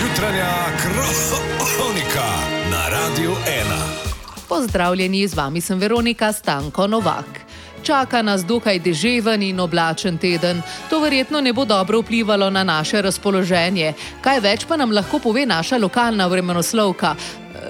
jutranja kronika na Radiu 1. Pozdravljeni, z vami sem Veronika Stanko Novak. Čaka nas dokaj deževen in oblačen teden. To verjetno ne bo dobro vplivalo na naše razpoloženje. Kaj več pa nam lahko pove naša lokalna vremenoslovka.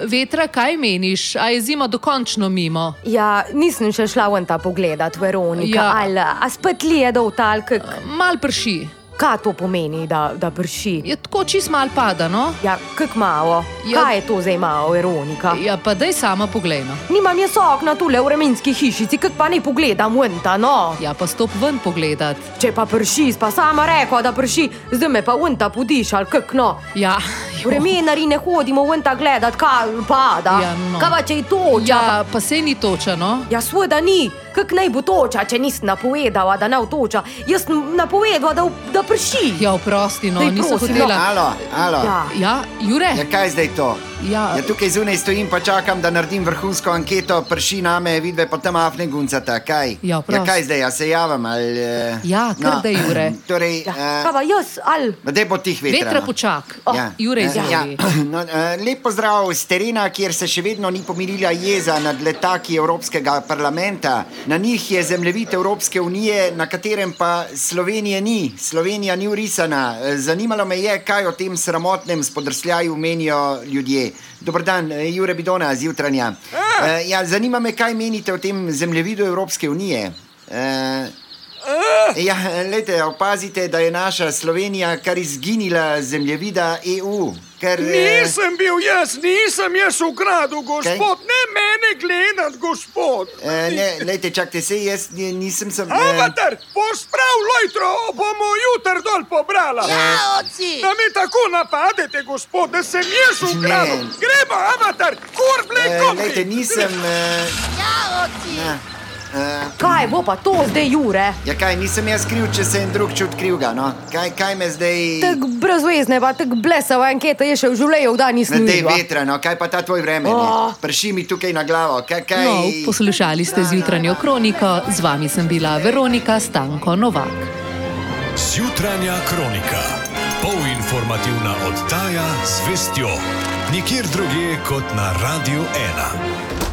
Vetra, kaj meniš? A je zima dokončno mimo? Ja, nisem še šla ven ta pogledat, Veronika. Ja. Ja. Ali, a spet li je dol talk, Mal prši. kaj to pomeni, da, da prši? Je tako čist mal pada, no? Ja, kak malo. Ja. Ja. Kaj je to zdaj malo, Veronika? Ja, pa daj sama no. poglejmo. Nimam jaz okna tule v reminski hišici, kak pa ne pogledam ven ta no. Ja, pa stop ven pogledat. Če pa prši, pa sama reko, da prši, zdaj me pa ven ta podiš ali kak no. Ja, jo. Vremenari ne hodimo ven ta gledat, kaj pada. Ja, no. Kaj pa če je toča? Ja, pa se ni no. točeno. Ja, seveda ni, kak naj bo toča, če nisem napovedala, da ne bo toča. Jaz sem napovedala, da, da prši. Ja, oprosti, no, Daj, nisem prosim, hotela. Alo, alo. Ja. Ja. Ja, Jure. Ja, kaj zdaj to? Ja. Ja, tukaj zunaj stojim, pa čakam, da naredim vrhunsko anketo, prši name, vidve pa tam afne guncata. Kaj? Ja, prost. ja, kaj zdaj, ja se javim? Ali, eh, Ja, kar daj, Jure. Torej, Ja, eh, Kaj pa jaz, ali Ma daj bo tih vetra. Vetra no. počak, oh, ja. Jure eh, izjavi. Ja. No, eh, lep pozdrav z terena, kjer se še vedno ni pomirila jeza nad letaki Evropskega parlamenta. Na njih je zemljevid Evropske unije, na katerem pa Slovenije ni. Slovenija ni urisana. Eh, Zanimalo me je, kaj o tem sramotnem spodrsljaju menijo ljudje. Dobrodan, eh, Jure Bidona z jutranja. Eh, Ja, zanima me, kaj menite o tem zemljevidu Evropske unije. Eh, Ja, lejte, opazite, da je naša Slovenija kar izginila z zemljevida EU. Ker, eh, Nisem bil jaz, nisem jaz ukradel, gospod, ne mene gledati, gospod. eh, ne, lejte, čakajte, se jaz ni- nisem sem. eh, Avatar, posprav lojtro, bomo jutr dol pobrala. Ja, Da me tako napadete, gospod, da sem jaz ukradel. Ne. Gremo, avatar, kur eh, bleko. lejte, nisem. Eh, ja, eh, kaj bo pa to zdaj, Jure? ja, kaj, nisem jaz kriv, če se en drug čut krivga. No? Kaj, kaj me zdaj. Tek brezvezne, pa tek blesava anketa je še v življenju, da Na nisem tej videla. vetra, no, kaj pa ta tvoj vreme? Oh. Oh. Prši mi tukaj na glavo. Kaj, kaj... No, poslušali ste zjutranjo kroniko, z vami sem bila Veronika Stanko Novak. Zjutranja kronika. Polinformativna oddaja z vestjo. Nikjer drugje kot na Radiu 1.